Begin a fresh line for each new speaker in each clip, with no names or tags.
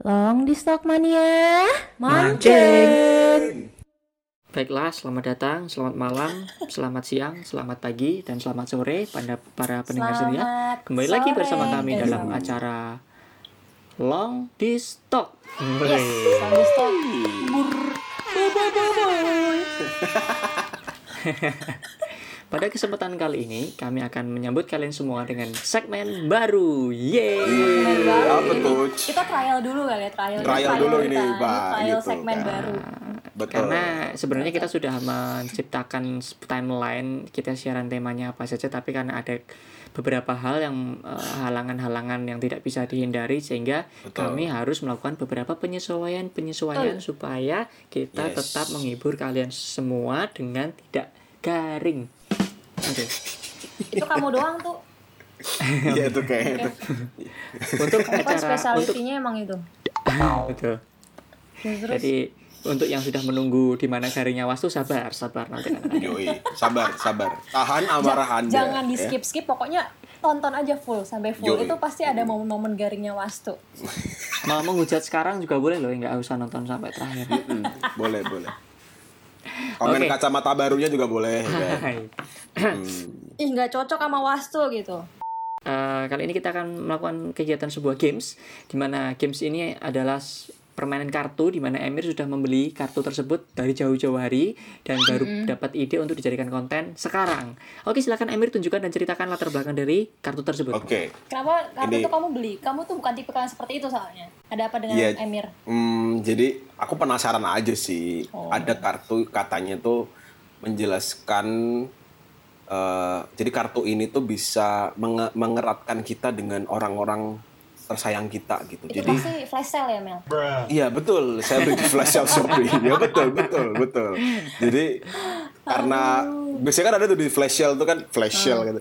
Long di Stockmania
Mancing. Baiklah, selamat datang, selamat malam, selamat siang, selamat pagi, dan selamat sore pada para pendengar setia.
Selamat
Kembali lagi
sore.
bersama kami
Eh,
dalam
selamat-
acara Long Distalk.
Yes, Long di Stock.
Pada kesempatan kali ini, kami akan menyambut kalian semua dengan segmen baru.
Segmen
Yeay!
baru.
Apa tuh?
Kita trial dulu kali ya, trial.
Trial dulu ini,
kita.
Pak,
Trial
gitu,
segmen
kan.
baru.
Betul.
Karena sebenarnya kita sudah menciptakan timeline kita siaran temanya apa saja, tapi karena ada beberapa hal yang eh, halangan-halangan yang tidak bisa dihindari, sehingga
Betul.
kami harus melakukan beberapa penyesuaian-penyesuaian supaya kita
Yes.
tetap menghibur kalian semua dengan tidak garing. Oke.
Itu kamu doang tuh.
Iya itu kayaknya itu.
Untuk
Apa
acara untuk
spesialitinya emang itu?
betul.
Terus, terus.
Jadi untuk yang sudah menunggu di mana garingnya wastu sabar, sabar nanti akan ada.
Yoi, sabar, sabar. Tahan amarah
Ja-
Anda.
jangan di
ya.
skip skip pokoknya tonton aja full sampai full
Yoi.
itu pasti ada momen-momen garingnya wastu
Mau menghujat sekarang juga boleh loh, nggak usah nonton sampai terakhir.
Mm, boleh, boleh. Komen
Oke.
kacamata barunya juga boleh. ya.
Hai.
Hmm,
ih nggak cocok sama wastu gitu
Eh, kali ini kita akan melakukan kegiatan sebuah games, di mana games ini adalah s- permainan kartu, di mana Emir sudah membeli kartu tersebut dari jauh-jauh hari dan baru dapat ide untuk dijadikan konten sekarang. Oke, silakan Emir tunjukkan dan ceritakan latar belakang dari kartu tersebut.
Oke.
kenapa kartu
Ini-
tuh kamu beli kamu tuh bukan tipe kalian seperti itu soalnya ada apa dengan
Iya.
Ya, Emir
Hmm, jadi aku penasaran aja sih.
Oh.
Ada kartu katanya tuh menjelaskan eh, jadi kartu ini tuh bisa menge- mengeratkan kita dengan orang-orang tersayang kita gitu.
itu
Jadi
pasti flash sale ya Mel
Iya betul, saya beli di flash sale Shopee. Ya betul, betul, betul. Jadi karena biasanya kan ada tuh di flash sale tuh kan flash sale gitu.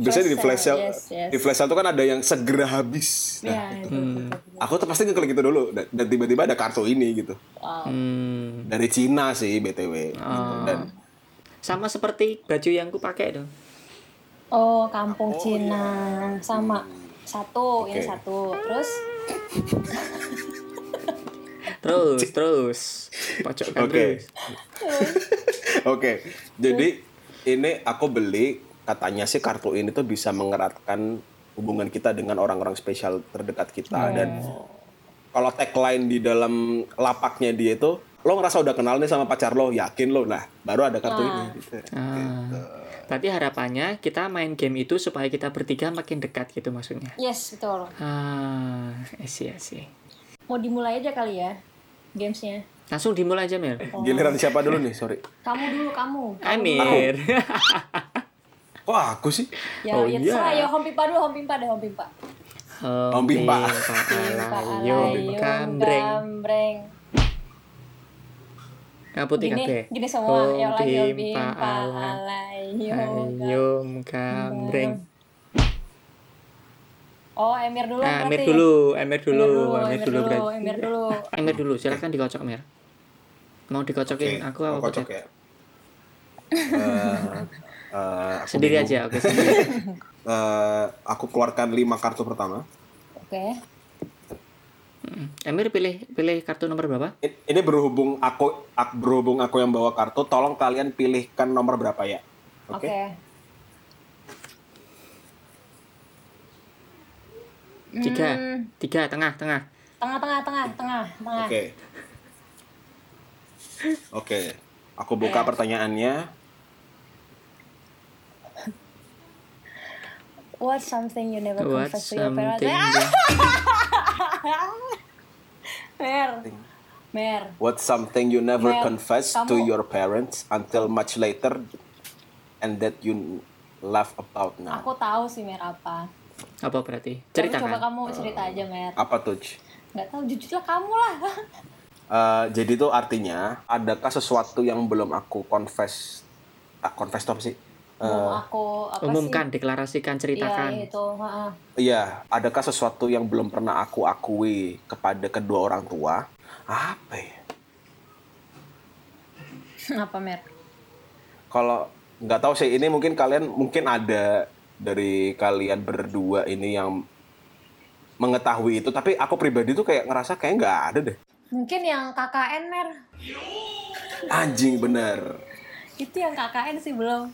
Biasanya
Oh. Flash
di flash
sale,
sale,
yes, yes.
di flash sale tuh kan ada yang segera habis. Nah,
Iya, itu, itu,
Hmm.
itu.
aku tuh pasti ngeklik itu dulu dan dan tiba-tiba ada kartu ini gitu.
wow
Hmm,
Dari Cina sih BTW gitu.
Oh.
Dan
sama seperti baju yang ku pakai dong.
oh
Ah,
kampung Cina sama satu ini
iya. Hmm. Oke.
satu terus
Terus, terus, pojokkan
Oke.
terus.
Oke, jadi ini aku beli katanya sih kartu ini tuh bisa mengeratkan hubungan kita dengan orang-orang spesial terdekat
Oh.
kita dan kalau tagline di dalam lapaknya dia itu lo ngerasa udah kenal nih sama pacar lo yakin lo nah baru ada kartu ini gitu.
Ah. Berarti harapannya kita main game itu supaya kita bertiga makin dekat gitu maksudnya.
yes betul
Ah, I see, I see.
mau dimulai aja kali ya gamesnya Oh.
Langsung dimulai aja,
Eh,
Mel.
Giliran siapa dulu nih sorry?
kamu dulu kamu Kamu dulu.
Amir.
Wah aku sih
ya
Oh,
ya
iya.
terserah ya Hompimpa dulu Hompimpa deh Hompimpa
Om Bimba.
iya,
Pak
Alayo,
Alayung
kambreng.
Kambreng.
Ngaputi
Gini,
kabeh.
gini semua.
Om
Ya Allah, ya
Bimba,
Bimpa,
Alayo,
Alayung.
kambreng.
Oh, Emir dulu
Ah,
berarti.
Amir dulu, Amir
Emir
dulu,
dulu,
Amir dulu berarti.
Emir dulu.
Emir dulu, silakan dikocok Mir. Mau dikocokin aku apa
mau kocok
kocok?
ya. Eh, eh, aku
Sendiri
bingung.
aja, oke. sendiri.
Eh, aku keluarkan lima kartu pertama.
Oke.
Emir Mm. pilih pilih kartu nomor berapa?
I- Ini berhubung aku ak- berhubung aku yang bawa kartu, tolong kalian pilihkan nomor berapa ya. Oke.
Oke.
Tiga,
Hmm,
tiga tengah tengah.
Tengah, tengah, tengah, tengah, tengah.
Oke. Oke. Aku buka
Ya.
pertanyaannya.
What's something you never
What
confess to your parents?
something?
Ah, Mer. Mer.
What's something you never
Mel,
confess to
kamu-
your parents until much later and that you laugh about now?
Aku tahu sih Mer apa.
Apa berarti?
Tapi Coba
Ceritakan.
kamu cerita aja Mer.
Apa tuh? Ci?
Gak tahu jujur lah kamu lah.
Eh, jadi tuh artinya adakah sesuatu yang belum aku confess? Ah, confess tuh apa sih? Eh,
Mau aku apa
Umumkan,
sih?
deklarasikan,
Iya
ceritakan.
itu. ha-ha.
Iya, adakah sesuatu yang belum pernah aku akui kepada kedua orang tua? Apa ya?
Apa Mer?
kalau nggak tahu sih ini mungkin kalian mungkin ada dari kalian berdua ini yang mengetahui itu tapi aku pribadi tuh kayak ngerasa kayak nggak ada deh
Mungkin yang KKN mer.
anjing bener
Itu yang KKN sih belum.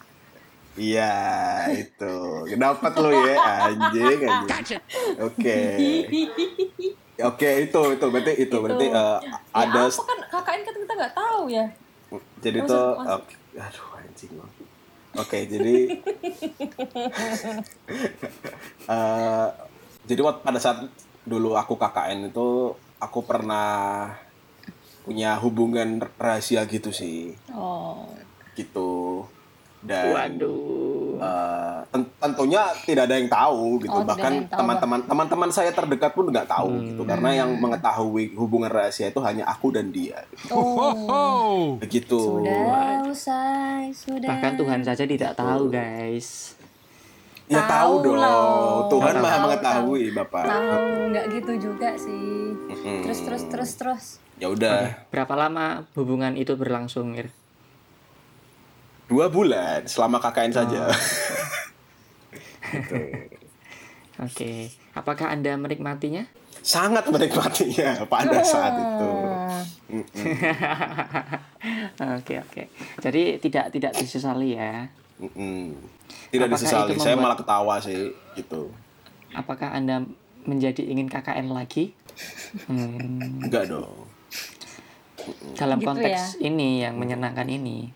iya itu dapat lo ya anjing anjing oke oke itu itu berarti itu, berarti eh,
Ya,
ada
apa kan KKN kan kita nggak tahu ya.
jadi
Maksud-
tuh
maksud-
oke. aduh anjing lo. oke jadi eh, jadi waktu pada saat dulu aku KKN itu aku pernah punya hubungan rahasia gitu sih
Oh.
gitu dan
Waduh.
eh, ten- tentunya tidak ada yang tahu gitu
Oh, tidak ada
bahkan
yang tahu. Hmm.
teman-teman teman-teman saya terdekat pun nggak tahu gitu karena yang mengetahui hubungan rahasia itu hanya aku dan dia
Oh.
begitu
Sudah usai, sudah.
Bahkan Tuhan saja tidak tahu, guys.
Ya tahu,
Tahu
dong.
loh.
Tuhan
Tahu,
Maha
tahu.
mengetahui, Bapak.
Tahu nggak gitu juga sih. Terus terus terus terus.
Ya udah,
Berapa lama hubungan itu berlangsung, Mir?
dua bulan selama KKN saja.
Ah.
Gitu.
Oke. Apakah Anda menikmatinya?
Sangat menikmatinya
Ah.
pada saat itu.
Hmm.
Oke, oke. Jadi tidak tidak disesali ya.
Mm-mm. Tidak
Apakah itu
disesali, saya
membuat-
malah ketawa sih gitu.
Apakah Anda menjadi ingin KKN lagi? Hmm,
Enggak dong.
dalam
Gitu
konteks ini yang menyenangkan ini.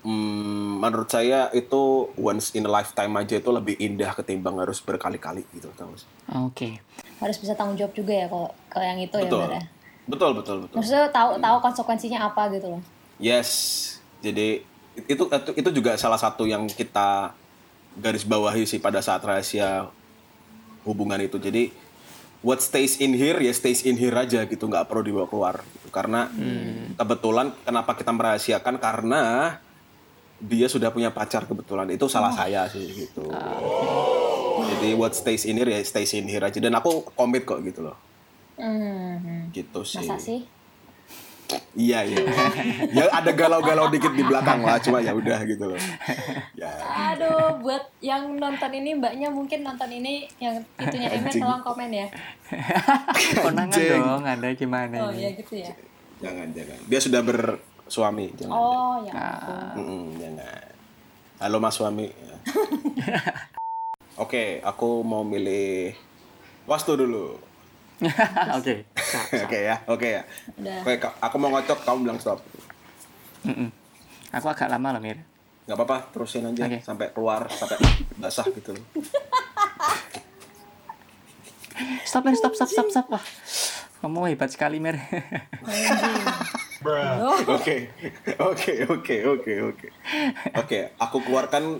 Hmm, menurut saya itu once in a lifetime aja itu lebih indah ketimbang harus berkali-kali gitu tahu sih.
Oke.
Harus bisa tanggung jawab juga ya kalau kalau yang itu ya,
Betul.
Mer, ya.
Betul, betul, betul.
Maksudnya tahu tahu konsekuensinya apa gitu loh.
Yes, jadi itu itu- itu juga salah satu yang kita garis bawahi sih pada saat rahasia hubungan itu. Jadi what stays in here ya stays in here aja gitu, nggak perlu dibawa keluar. Gitu. Karena kebetulan kenapa kita merahasiakan karena dia sudah punya pacar kebetulan itu salah saya sih gitu. Jadi what stays in here ya stays in here aja. Dan aku komit kok gitu loh,
Hmm.
gitu sih.
Masa sih?
Iya iya. ya ada galau-galau dikit di belakang lah, cuma ya udah gitu loh. Ya.
Aduh, buat yang nonton ini mbaknya mungkin nonton ini yang itunya Emir
Anjing.
tolong komen ya.
Konangan
Anjing.
dong, Anda gimana
Oh ya
ini?
gitu ya.
Jangan jangan. Dia sudah bersuami, jangan.
Oh ya. ampun.
Mm-mm, jangan. Halo Mas suami. Ya. Oke, aku mau milih Wastu dulu.
Oke.
Oke ya, oke ya.
Udah.
Oke, Kak, aku mau ngocok, kamu bilang stop.
Mm-mm. Aku agak lama loh, Mir.
Gak apa-apa, terusin aja
Oke.
sampai keluar, sampai basah gitu. loh.
Stop, Mir. Stop, stop, stop, stop. Wah. Kamu hebat sekali, Mir.
Oke, oke, oke, oke, oke. Oke, aku keluarkan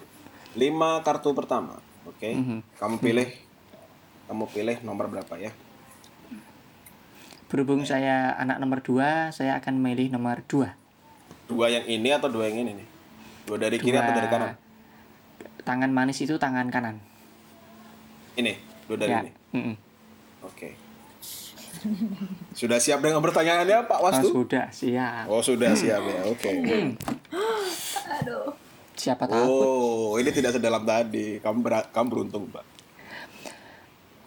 lima kartu pertama. Oke, kamu pilih, kamu pilih nomor berapa ya?
Berhubung saya anak nomor 2, saya akan memilih nomor 2.
Dua yang ini atau dua yang ini nih? Dua dari kiri atau dari kanan?
Tangan manis itu tangan kanan.
Ini, dua dari
ya.
ini.
Mm-mm.
Oke. Sudah siap dengan pertanyaannya Pak
Pas
Wastu?
sudah siap.
Oh sudah siap ya, oke.
Aduh.
Siapa tahu.
Oh, ini tidak sedalam tadi. Kamu ber- kamu beruntung, Pak.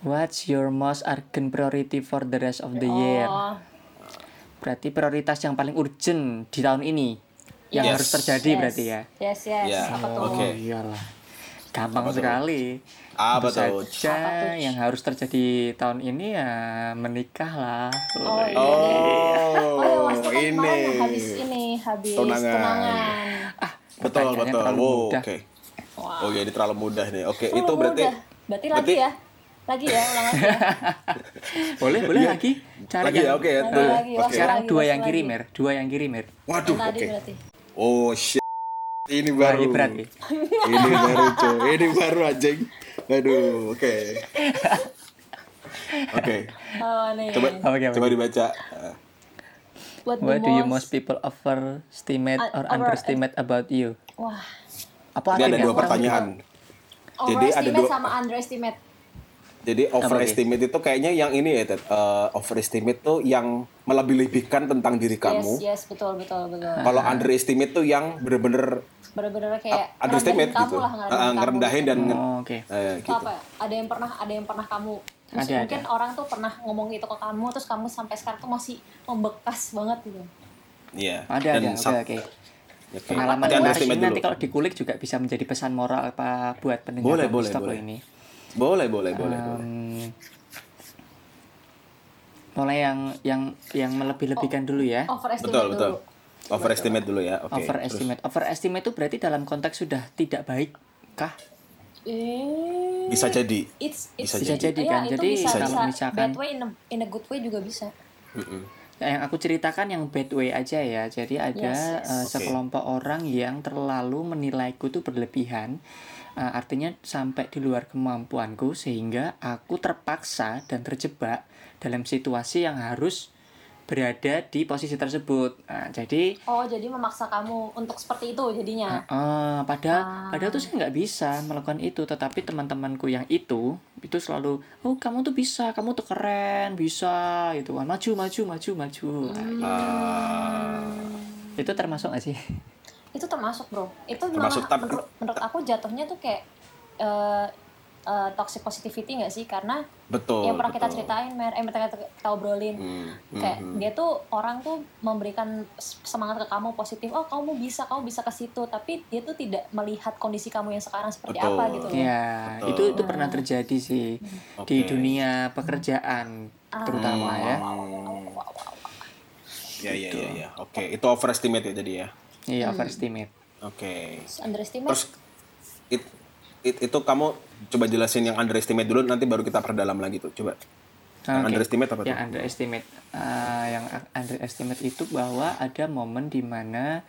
What's your most urgent priority for the rest of the
Iya.
year?
Oh.
Berarti prioritas yang paling urgent di tahun ini yang
Yes.
harus terjadi
yes.
berarti ya. Oh,
Yes, yes.
Ya,
Apa tuh?
oke.
Iyalah. Gampang sekali.
Apa
Tentu
tuh?
saja yang harus terjadi tahun ini ya menikah lah.
Iya.
Oh,
Oh, ya, Wastu kan
ini.
kemarin habis ini, habis
Tunangan.
tunangan.
Betul,
Ah, Pertanyaannya
betul.
terlalu
Wow, oke.
mudah.
Wah.
Oh ya, ini terlalu mudah nih. Oke,
Terlalu
itu berarti
mudah. berarti lagi
berarti-
ya. Lagi ya, ulang lagi. ya.
Boleh, boleh lagi. Cari
Iya. lagi ya,
yang-
oke. ya.
Lagi,
Boleh.
lagi,
Oke.
Wastu.
Sekarang
Lagi,
dua
lagi,
yang kiri,
lagi.
Mer. Dua yang kiri, Mer.
Waduh, oke.
Tadi berarti.
Oh shit. Ini
Wah,
baru.
ini berat nih.
Ini baru, cuy. Ini baru anjing. Aduh, oke. Oke,
Oh, nih.
coba
Oke, oke.
coba dibaca. Eh,
What, the
What do you
most-
most people overestimate
Un-
or
over-
underestimate about you?
Wah.
Apa aku
Ini ada
yang
dua
ya, kurang
pertanyaan. Jadi ada
Overestimate
dua-
sama underestimate.
Jadi overestimate itu kayaknya yang ini ya, Ted. Eh, overestimate tuh yang melebih-lebihkan tentang diri
Yes,
kamu.
yes, betul, betul, betul.
Kalau underestimate tuh yang bener-bener
Bener-bener kayak
underestimate
ngerendahin
gitu,
kamu lah, ngerendahin
Ah,
kamu.
ngerendahin dan nge-
Oh, oke.
eh,
Atau
gitu.
apa? ya, Ada yang pernah, ada yang pernah kamu. Terus
Ada,
mungkin orang tuh pernah ngomong gitu ke kamu, terus kamu sampai sekarang tuh masih membekas banget gitu.
Iya.
Ada
Dan
ada oke
sat-
oke.
Oke.
Pengalaman
Jadi
menarik
underestimate
ini nanti
dulu.
kalau dikulik juga bisa menjadi pesan moral apa buat pendengar
Boleh,
Kampus
boleh,
Talk
boleh.
ini.
Boleh, boleh, boleh, boleh.
Hmm. mulai yang yang yang
Oh.
melebih-lebihkan dulu ya.
Overestimate
Betul,
dulu.
betul. Overestimate dulu ya. Oke.
Overestimate. Overestimate itu berarti dalam konteks sudah tidak baik kah?
Eh,
Bisa jadi.
It's, it's,
Bisa
Bisa
jadi.
jadi
Iya,
kan.
itu
Jadi
bisa,
kalau
bisa.
misalkan
Bad way in a, in a good way juga bisa.
Mm-mm.
yang aku ceritakan yang bad way aja ya. Jadi ada
Yes, yes.
eh,
Oke.
sekelompok orang yang terlalu menilaiku tuh berlebihan. Eh, artinya sampai di luar kemampuanku sehingga aku terpaksa dan terjebak dalam situasi yang harus berada di posisi tersebut. Nah, jadi
Oh, jadi memaksa kamu untuk seperti itu jadinya.
Ah,
Ah.
padahal, padahal tuh saya nggak bisa melakukan itu, tetapi teman-temanku yang itu itu selalu, oh kamu tuh bisa, kamu tuh keren, bisa, gitu kan, maju, maju, maju, maju. Nah,
Hmm.
Ah.
itu termasuk nggak sih?
Itu termasuk, bro. Itu
Termasuk,
malah
tapi-
menurut, menurut aku jatuhnya tuh kayak eh eh, toxic positivity nggak sih? Karena
Betul.
yang pernah kita
Oh, betul.
ceritain, Mer, eh, yang pernah kita, kita obrolin.
Hmm,
Kayak
mhm.
dia tuh orang tuh memberikan s- semangat ke kamu positif. Oh, kamu bisa, kamu bisa ke situ. Tapi dia tuh tidak melihat kondisi kamu yang sekarang seperti
Betul.
apa gitu. loh.
Ya,
Betul.
itu itu pernah terjadi sih di
Oke.
dunia pekerjaan
Ah.
terutama ya. Gitu.
Hmm. Ya, ya, ya, ya. Oke, itu overestimate ya tadi ya.
Iya,
Hmm.
overestimate.
Oke.
Terus Underestimate.
Terus it- it- itu kamu coba jelasin yang underestimate dulu nanti baru kita perdalam lagi tuh. Coba. Yang
Oke. Ya.
underestimate apa tuh?
Yang underestimate, eh, yang a- underestimate itu bahwa ada momen di mana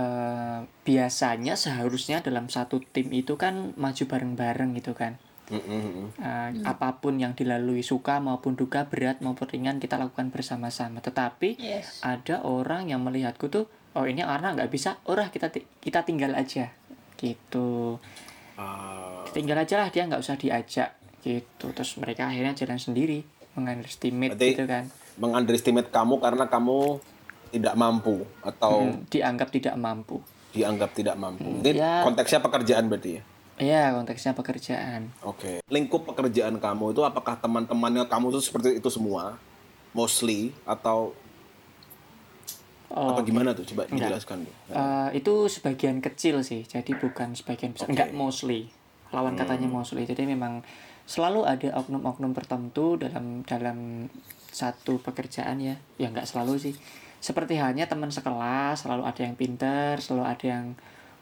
eh, biasanya seharusnya dalam satu tim itu kan maju bareng-bareng gitu kan.
Mm-mm, mm-mm.
Eh, Apapun yang dilalui suka maupun duka berat maupun ringan kita lakukan bersama-sama. Tetapi
Yes.
ada orang yang melihatku tuh, oh ini anak nggak bisa, orang kita ti- kita tinggal aja gitu
Ah,
tinggal aja lah dia nggak usah diajak gitu terus mereka akhirnya jalan sendiri mengunderestimate
Berarti-
gitu kan
mengunderestimate kamu karena kamu tidak mampu atau
Hmm, dianggap tidak mampu
dianggap tidak mampu. Ini
Ya.
konteksnya pekerjaan berarti ya.
ya konteksnya pekerjaan
Oke. Lingkup pekerjaan kamu itu apakah teman-temannya kamu tuh seperti itu semua? Mostly atau
oh
apa gimana tuh coba
Enggak.
dijelaskan tuh.
eh, itu sebagian kecil sih jadi bukan sebagian besar
Oke. Hmm.
enggak mostly lawan katanya mostly jadi memang selalu ada oknum-oknum tertentu dalam dalam satu pekerjaan ya ya nggak selalu sih seperti halnya teman sekelas selalu ada yang pinter selalu ada yang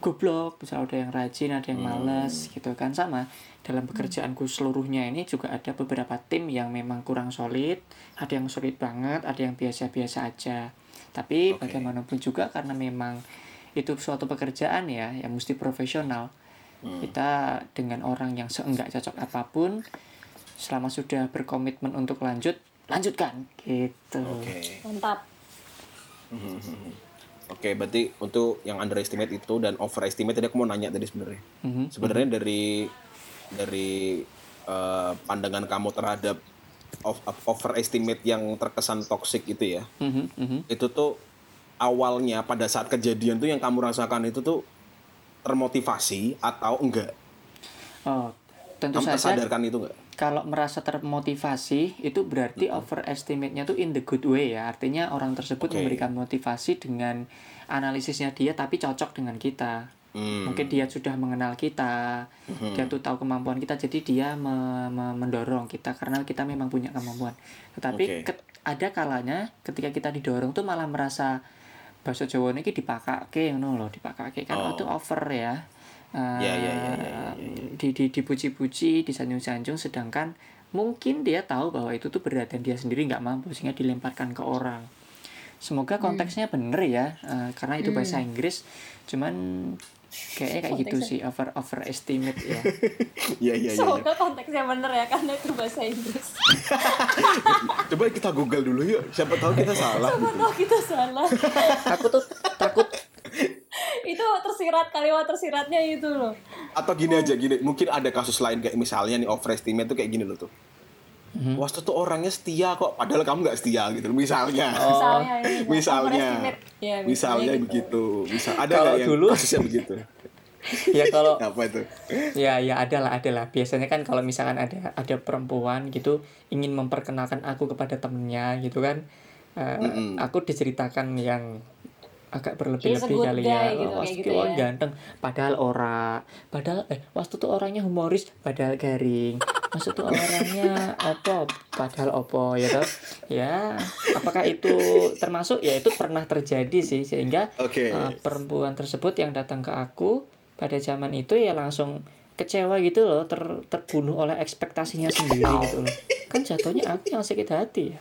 goblok bisa ada yang rajin ada yang
Hmm.
males gitu kan sama dalam pekerjaanku seluruhnya ini juga ada beberapa tim yang memang kurang solid ada yang solid banget ada yang biasa-biasa aja tapi
Oke.
bagaimanapun juga karena memang itu suatu pekerjaan ya yang mesti profesional
Hmm.
kita dengan orang yang seenggak cocok apapun selama sudah berkomitmen untuk lanjut lanjutkan gitu
Oke.
Mantap.
Mhm. Oke, berarti untuk yang underestimate itu dan overestimate tadi aku mau nanya tadi sebenarnya.
Mhm.
Sebenarnya dari dari eh, pandangan kamu terhadap of- of- overestimate yang terkesan toxic itu ya.
Mhm, mhm.
Itu tuh awalnya pada saat kejadian tuh yang kamu rasakan itu tuh termotivasi atau enggak?
oh tentu
kamu
saja
tersadarkan itu enggak?
kalau merasa termotivasi itu berarti
Mhm.
overestimate-nya tuh in the good way ya. Artinya orang tersebut
Oke.
memberikan motivasi dengan analisisnya dia tapi cocok dengan kita.
Hmm.
Mungkin dia sudah mengenal kita, dia tuh tahu kemampuan kita jadi dia me- me- mendorong kita karena kita memang punya kemampuan. Tetapi
Oke.
ket- ada kalanya ketika kita didorong tuh malah merasa bahasa Jawa ini dipakake ngono lho, dipakake kan
Oh.
itu over ya. Eh,
Ya, ya, ya, ya, ya, ya,
di di dipuji-puji, disanjung-sanjung sedangkan mungkin dia tahu bahwa itu tuh berat dan dia sendiri nggak mampu sehingga dilemparkan ke orang. Semoga
Hmm.
konteksnya bener ya eh, karena itu bahasa Inggris cuman kayaknya kayak gitu sih
ya.
over overestimate ya.
Iya, iya, iya.
Semoga konteksnya bener ya, karena itu bahasa Inggris.
Coba kita Google dulu yuk. Siapa tahu kita salah.
Siapa tahu kita Oh, gitu, salah.
aku tuh takut
itu tersirat kalimat tersiratnya itu loh.
atau gini aja gini mungkin ada kasus lain kayak misalnya nih overestimate tuh kayak gini loh tuh Wah tuh orangnya setia kok, padahal kamu nggak setia gitu. Misalnya,
Misalnya ini, ya.
misalnya,
Overestimate. Ya,
misalnya
misalnya
begitu. Misal ada
Kalau
nggak yang
dulu-
kasusnya begitu?
ya kalau
Apa itu?
ya ya ada lah ada lah biasanya kan kalau misalkan ada ada perempuan gitu ingin memperkenalkan aku kepada temennya gitu kan eh,
Mm-mm.
aku diceritakan yang agak berlebih-lebih
Iya, good
kali
guy,
ya
gitu, kayak
Wah, Mas
gitu
Kiwon
ya.
ganteng padahal ora padahal eh waktu tuh orangnya humoris padahal garing maksud tuh orangnya opo padahal opo ya toh ya apakah itu termasuk ya itu pernah terjadi sih sehingga
Oke.
Uh, perempuan tersebut yang datang ke aku pada zaman itu ya langsung kecewa gitu loh ter- terbunuh oleh ekspektasinya sendiri gitu loh kan jatuhnya aku yang sakit hati ya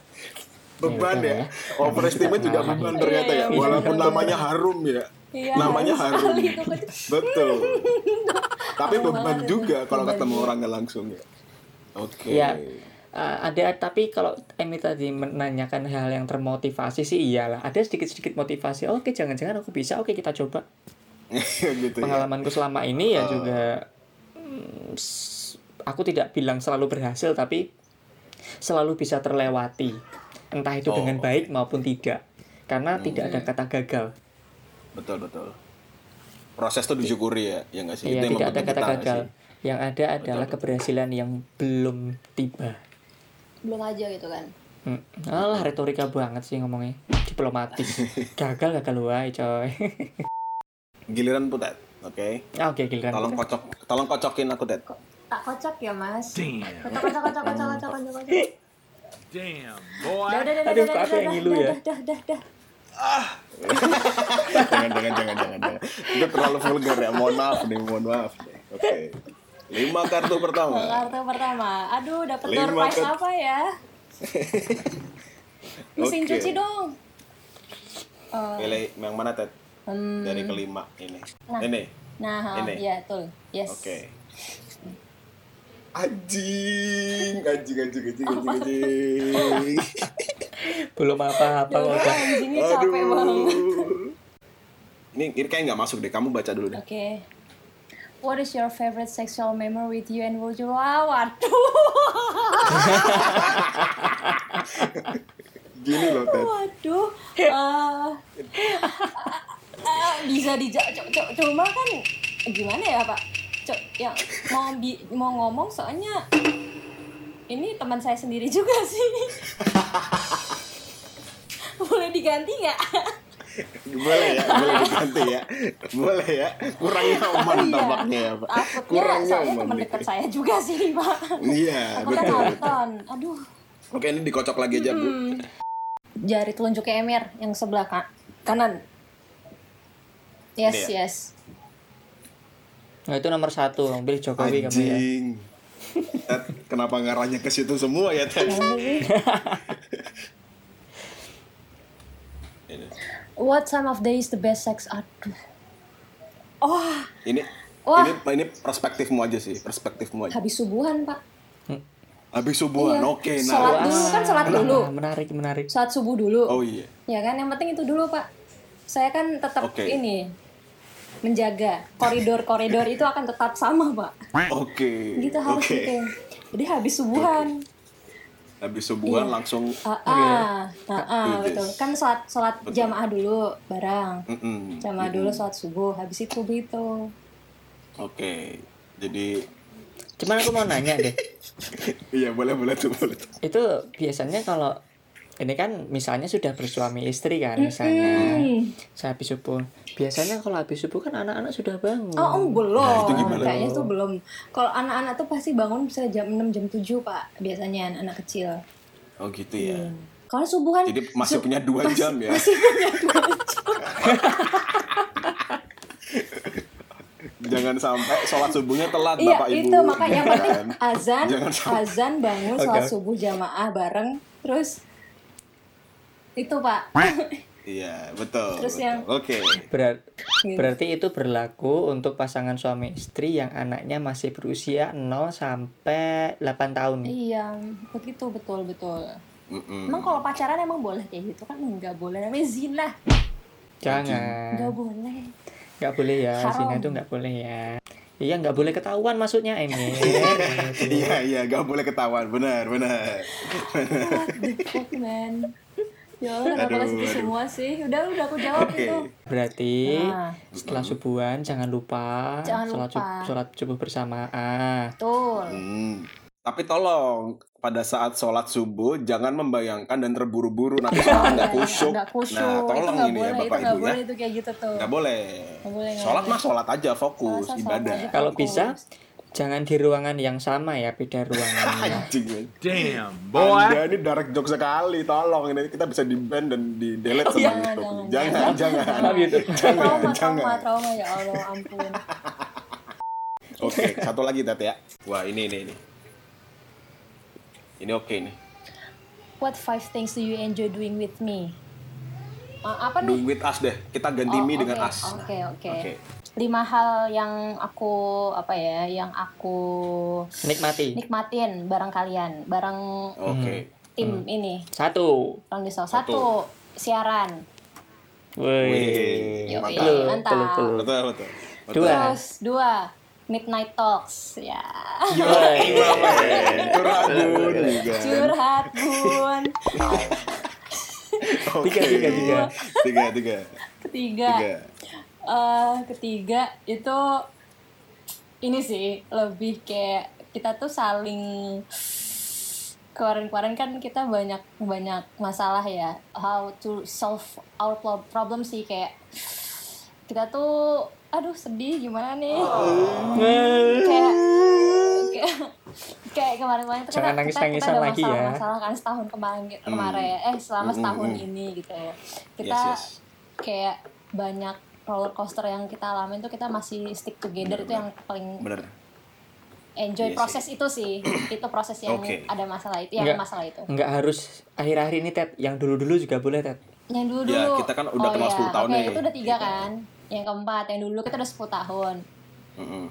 beban
Ya,
ya.
udah.
Overestimate juga beban
Iya,
ternyata
iya,
ya.
betul.
Walaupun namanya harum ya.
Iya,
Namanya
harus
harum.
sekali itu, Coach.
Betul. Tapi
Harum
beban
banget itu.
juga kalau
Beban
ketemu
juga.
orangnya langsung ya. Oke.
ya uh, ada tapi kalau Emi tadi menanyakan hal yang termotivasi sih iyalah ada sedikit-sedikit motivasi oke jangan-jangan aku bisa oke kita coba
gitu ya.
pengalamanku selama ini
Oh.
ya juga mm, s- aku tidak bilang selalu berhasil tapi selalu bisa terlewati entah itu
Oh, Hmm.
dengan baik maupun tidak karena tidak ada kata gagal
Betul betul. Proses tuh disyukuri ya, ya nggak sih?
ya tidak ada
Itu yang membuat
kata
kita nggak
gagal
sih?
yang ada adalah keberhasilan yang belum tiba
belum aja gitu kan
Hmm. Alah retorika banget sih ngomongnya diplomatis gagal gagal wae coy
Giliran putet, oke?
Ah, oke giliran
Tolong kocok, tolong kocokin aku Ted.
tak kocok ya mas
Damn.
kocok kocok kocok kocok kocok kocok kocok dah
Damn, boy.
dah dah dah
Aduh,
dah,
kok aku
dah,
yang
dah,
ngilu
dah,
ya?
dah dah dah dah
jangan, jangan, jangan, jangan, jangan. Itu terlalu vulgar ya. Mohon maaf nih, mohon maaf. nih. Oke. Lima kartu pertama.
kartu pertama aduh dapat
Lima
door prize
kartu.
apa ya mesin
Oke.
cuci dong Eh,
Pilih yang mana Ted?
hmm,
Dari kelima ini.
Nah.
Ini.
nah
Ini.
ya betul yes
Oke. Anjing, anjing, anjing, anjing, anjing,
Oh.
anjing.
belum apa-apa
Iya.
kok Bang.
anjingnya capek banget
Ini, ini kayak nggak masuk deh. Kamu baca dulu deh.
Oke. What is your favorite sexual memory with you and would you Wah, Waduh.
Gini loh, Ted.
Waduh. Eh, eh, bisa dijak cu- cu- cuma kan gimana ya, Pak? Cu- yang mau bi- mau ngomong soalnya ini teman saya sendiri juga sih. Boleh diganti nggak?
Boleh ya, boleh diganti ya. Boleh ya. Kurang nyaman tampaknya ya, Pak.
Iya. Takutnya
Kurang
soalnya
nyaman.
teman
nih.
dekat saya juga sih, Pak.
Iya,
Aku kan
betul.
nonton. Aduh.
Oke, ini dikocok lagi aja, Bu.
Hmm. jari telunjuknya Emir yang sebelah ka- kanan. Yes,
Ini ya?
yes.
nah itu nomor satu pilih Jokowi kamu ya
Anjing. Ted, kenapa ngarahnya ke situ semua ya, Ted? Ini.
What time of day is the best sex? Aduh. Oh,
Ini
Wah.
ini ini perspektifmu aja sih, perspektifmu aja.
habis subuhan, Pak.
Habis subuhan,
Iya.
Oh, oke,
Sholat
nah.
dulu kan sholat
Wah,
dulu.
menarik menarik
Saat subuh dulu.
Oh iya.
Ya kan, yang penting itu dulu, Pak. Saya kan tetap
Oke.
ini menjaga koridor-koridor itu akan tetap sama, Pak.
Oke.
Gitu harus
oke.
gitu. Jadi habis subuhan.
Habis subuhan langsung
Ah, ah, ah, ah,
Oke.
betul. Kan sholat sholat
Betul.
jamaah dulu bareng.
Mm-mm.
Jamaah dulu sholat subuh, habis itu begitu.
Oke. Jadi
cuman aku mau nanya deh
iya boleh boleh tuh boleh tuh.
itu biasanya kalau ini kan misalnya sudah bersuami istri kan misalnya saya habis subuh biasanya kalau habis subuh kan anak-anak sudah bangun
Oh, oh, belum.
Nah, itu gimana?
Kayaknya itu belum. Kalau anak-anak tuh pasti bangun bisa jam 6 jam 7, Pak. Biasanya anak-anak kecil.
Oh gitu ya.
Kalau subuhan
Jadi masih punya dua jam ya.
masih punya dua jam.
Jangan sampai sholat subuhnya telat
Iya,
Bapak Ibu. kan?
itu makanya yang penting
Jangan.
azan,
Jangan sampai.
azan bangun sholat
Oke.
subuh jamaah bareng terus itu, Pak.
Iya, betul.
Terus
betul.
yang-
Oke.
Berar-
Gitu.
berarti itu berlaku untuk pasangan suami istri yang anaknya masih berusia 0 sampai 8 tahun
Iya, begitu betul betul.
Mm-mm.
Emang kalau pacaran emang boleh kayak gitu kan nggak boleh namanya zina
Hmm.
jangan
nggak boleh.
nggak boleh ya
Haram.
zina itu nggak boleh ya Iya nggak boleh ketahuan maksudnya Emir.
Iya iya gak boleh ketahuan benar benar.
What the fuck, man? Ya Allah, kenapa
Aduh,
kasih itu
aduh.
semua sih? Udah, udah aku jawab
Oke.
itu.
Berarti
Nah.
setelah subuhan jangan lupa
Jangan
sholat, sub-
lupa.
sholat subuh bersamaan.
Betul.
Hmm. Tapi tolong pada saat sholat subuh jangan membayangkan dan terburu-buru nanti sholat nggak kusyuk.
Nggak kusyuk.
Nah
itu
tolong
nggak
ini
boleh,
ya bapak
itu nggak
ibu ya.
boleh itu kayak gitu tuh.
Nggak boleh.
Nggak boleh, nggak
Sholat
boleh.
mah sholat aja fokus
Masa sholat
ibadah.
aja.
Kalau
Fokus.
bisa jangan di ruangan yang sama ya, beda ruangan.
Anjing.
Damn,
Anda
boy.
ini direct joke sekali, tolong ini kita bisa di ban dan di delete sama
iya. gitu.
YouTube. Jangan, jangan.
Maaf, YouTube.
Trauma, trauma,
jangan.
trauma ya Allah, ampun.
Oke, satu lagi Tat ya. Wah, ini ini ini. Ini oke nih.
What five things do you enjoy doing with me? Ah, apa
Do
nih?
with us deh. Kita ganti
Oh,
me dengan
oke,
us.
Oke, oke.
Oke.
Lima hal yang aku apa ya, yang aku
Nikmati.
nikmatin bareng kalian, bareng
Oke.
tim ini.
Satu.
Orang di Solo.
Hmm. Satu.
satu siaran.
Woi.
Wih,
Yoi,
mantap.
mantap.
Peluk, peluk.
Betul, betul. Betul.
Hmm. Dua.
Terus dua Midnight Talks ya.
Woi.
Curhat bun juga.
Curhat bun.
Oke.
Tiga, tiga, tiga.
Tiga, tiga. Tiga.
Ketiga, eh, ketiga itu ini sih lebih kayak kita tuh saling kemarin-kemarin kan kita banyak banyak masalah ya how to solve our pro- problem sih kayak kita tuh aduh sedih gimana nih
Oh.
kayak kayak- kayak kemarin-kemarin tuh
Jangan
kita, kita, kita
nangis-nangisan
ada
lagi ya. Hmm.
masalah-masalah kan setahun kemarin kemarin eh selama setahun ini gitu kita
Yes, yes.
kayak banyak roller coaster yang kita alamin tuh kita masih stick together itu yang paling
Bener.
enjoy
Iya sih.
proses itu sih itu proses yang
Oke.
ada masalah itu yang
Nggak-
masalah itu
Nggak harus akhir-akhir ini, Ted. Yang dulu-dulu juga boleh, Ted.
yang dulu dulu
Ya, kita kan udah kenal 10 tahun
Oke,
nih.
itu udah tiga
Gitu.
kan yang keempat yang dulu kita udah 10 tahun
Mm-mm.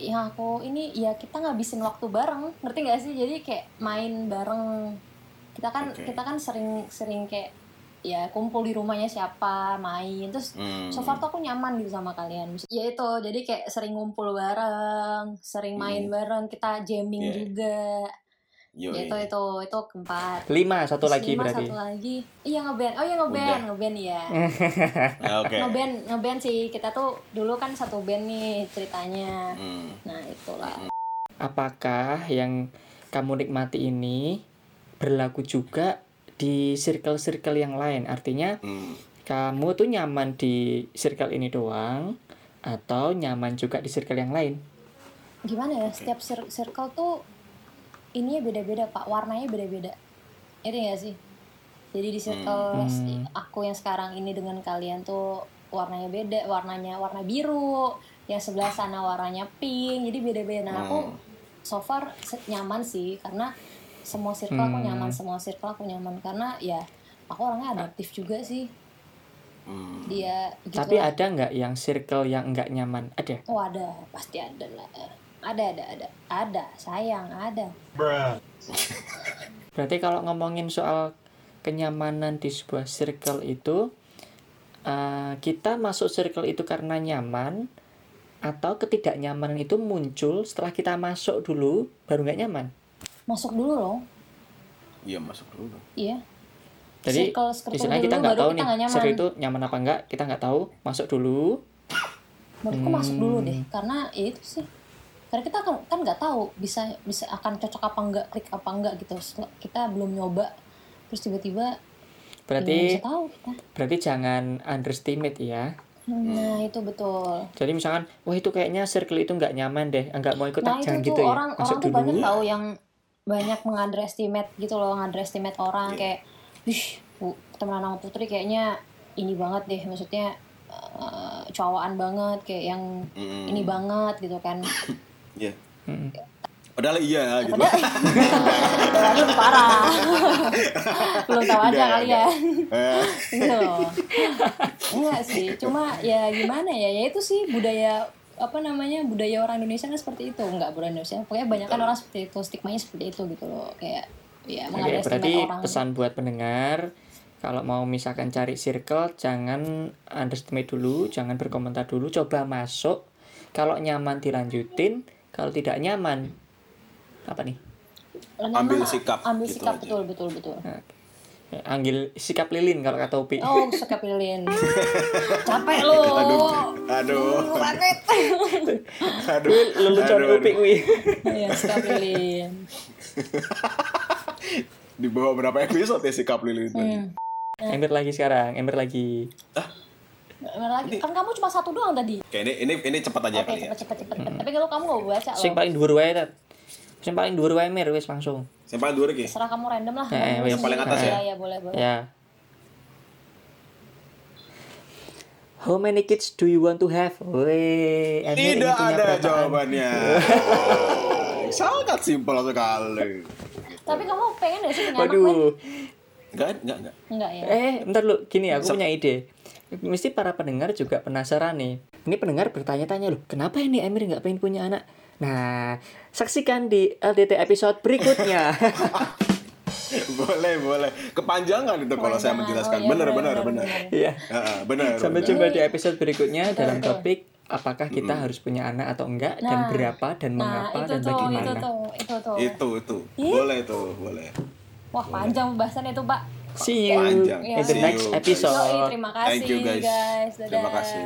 yang aku ini ya kita ngabisin waktu bareng ngerti nggak sih jadi kayak main bareng kita kan
Oke.
kita kan sering sering kayak ya kumpul di rumahnya siapa main terus
Hmm.
so far tuh aku nyaman gitu sama kalian ya itu jadi kayak sering ngumpul bareng sering main
Hmm.
bareng kita jamming
Yeah.
juga
Yoi.
itu itu itu keempat
Lima, satu
Terus
lagi
lima,
berarti.
satu lagi iya ngeband oh iya ngeband
Udah.
ngeband ya
Ya, Oke.
ngeband ngeband sih kita tuh dulu kan satu band nih ceritanya
Hmm.
nah itulah
Apakah yang kamu nikmati ini berlaku juga di circle-circle yang lain? Artinya,
Hmm.
kamu tuh nyaman di circle ini doang atau nyaman juga di circle yang lain?
gimana ya setiap cir- circle tuh ininya beda-beda pak warnanya beda-beda itu nggak sih jadi di circle
Hmm.
s- aku yang sekarang ini dengan kalian tuh warnanya beda warnanya warna biru yang sebelah sana warnanya pink jadi beda-beda nah aku
Hmm.
so far se- nyaman sih karena semua circle aku
Hmm.
nyaman semua circle aku nyaman karena ya aku orangnya adaptif juga sih
Hmm.
dia gitu
Tapi
lah.
ada nggak yang circle yang nggak nyaman? Ada.
Oh ada, pasti ada lah. Ada, ada, ada. Ada, sayang, ada.
Berarti kalau ngomongin soal kenyamanan di sebuah circle itu, eh, kita masuk circle itu karena nyaman atau ketidaknyamanan itu muncul setelah kita masuk dulu baru nggak nyaman.
Masuk dulu loh.
Iya masuk dulu.
Iya.
Jadi
Circle- circle
istilahnya
dulu,
kita nggak
baru
tahu
kita
nih
nggak nyaman.
circle itu nyaman apa enggak, kita nggak tahu. Masuk dulu,
Menurutku
Hmm.
masuk dulu deh, karena ya itu sih. Karena kita kan kan nggak tahu bisa bisa akan cocok apa enggak, klik apa enggak gitu. Setelah Kita belum nyoba. Terus tiba-tiba
berarti
ya, bisa tahu kita.
berarti jangan underestimate ya.
Nah, itu betul.
Jadi misalkan, wah itu kayaknya circle itu nggak nyaman deh, nggak mau ikut,
nah,
ah,
itu
jangan
tuh
gitu ya.
orang
Masuk
orang tuh
dulu.
banyak tahu yang banyak mengunderestimate gitu loh, mengunderestimate orang
Iya.
kayak, "Wih, Bu, temenan sama Putri kayaknya ini banget deh, maksudnya eh, cowokan banget kayak yang
Hmm.
ini banget gitu kan."
Iya.
Mm-mm.
Padahal iya gitu.
Padahal Padahal lebih parah. Belum tahu aja
Enggak,
kali ya.
Eh,
Gitu loh. Enggak Iya sih, cuma ya gimana ya? Ya itu sih budaya apa namanya budaya orang Indonesia kan seperti itu nggak budaya Indonesia pokoknya banyak kan orang seperti itu stigmanya seperti itu gitu loh kayak ya
Oke, berarti
mengadrestimate orang
pesan buat pendengar, kalau mau misalkan cari circle, jangan underestimate dulu, jangan berkomentar dulu, coba masuk, Kalau nyaman dilanjutin, kalau tidak nyaman apa nih?
Ambil sikap,
ambil
gitu
sikap
aja.
betul betul betul
Hmm. Anggil sikap lilin kalau kata Upi.
oh sikap lilin capek lo
aduh
sakit
aduh
Kuwi lelucon
aduh,
Upi
aduh.
kuwi.
iya sikap lilin
di bawah berapa episode ya sikap lilin itu
Ember lagi sekarang, ember lagi.
lagi kan kamu cuma satu doang tadi
oke ini ini ini cepat aja
oke
kali
cepet
ya
cepet cepet cepet. tapi kalau kamu nggak baca
Sing
loh
paling dhuwur wae, Tat. Sing paling dhuwur wae mir wis langsung.
yang paling dua lagi
serah kamu random lah
Eh, eh,
Kamu
wes.
Yang paling atas
sendiri.
ya?
Iya, iya, boleh boleh
Ya. How many kids do you want to have? Weh, Emir ini
tidak
punya
ada
perasaan.
jawabannya Oh, sangat simpel sekali
tapi kamu pengen nggak sih punya anak Wen?
Waduh.
enggak enggak enggak
enggak ya
Eh, bentar lu, gini aku punya ide. Mesti para pendengar juga penasaran nih. Ini pendengar bertanya-tanya loh, kenapa ini Emir nggak pengen punya anak? Nah, saksikan di LDT episode berikutnya.
boleh boleh kepanjangan itu kalau saya
Kepanjangan.
menjelaskan
Oh, iya,
benar benar
benar,
benar
Iya.
Heeh, benar
Sampai
benar.
jumpa di episode berikutnya dalam topik apakah kita harus punya anak atau enggak
Nah,
dan berapa dan
nah
mengapa
itu
dan
tuh
bagaimana.
itu tuh itu tuh
itu itu
Iya.
boleh itu boleh
wah panjang pembahasan itu pak
See you
panjang
in the
See
next
you, guys.
episode.
Yoi, terima kasih
Thank you, guys.
guys. Dadah.
Terima kasih.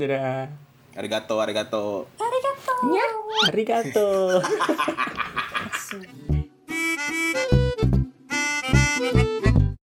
Dadah.
arigato arigato
Arigato
Arigato.
Kasih.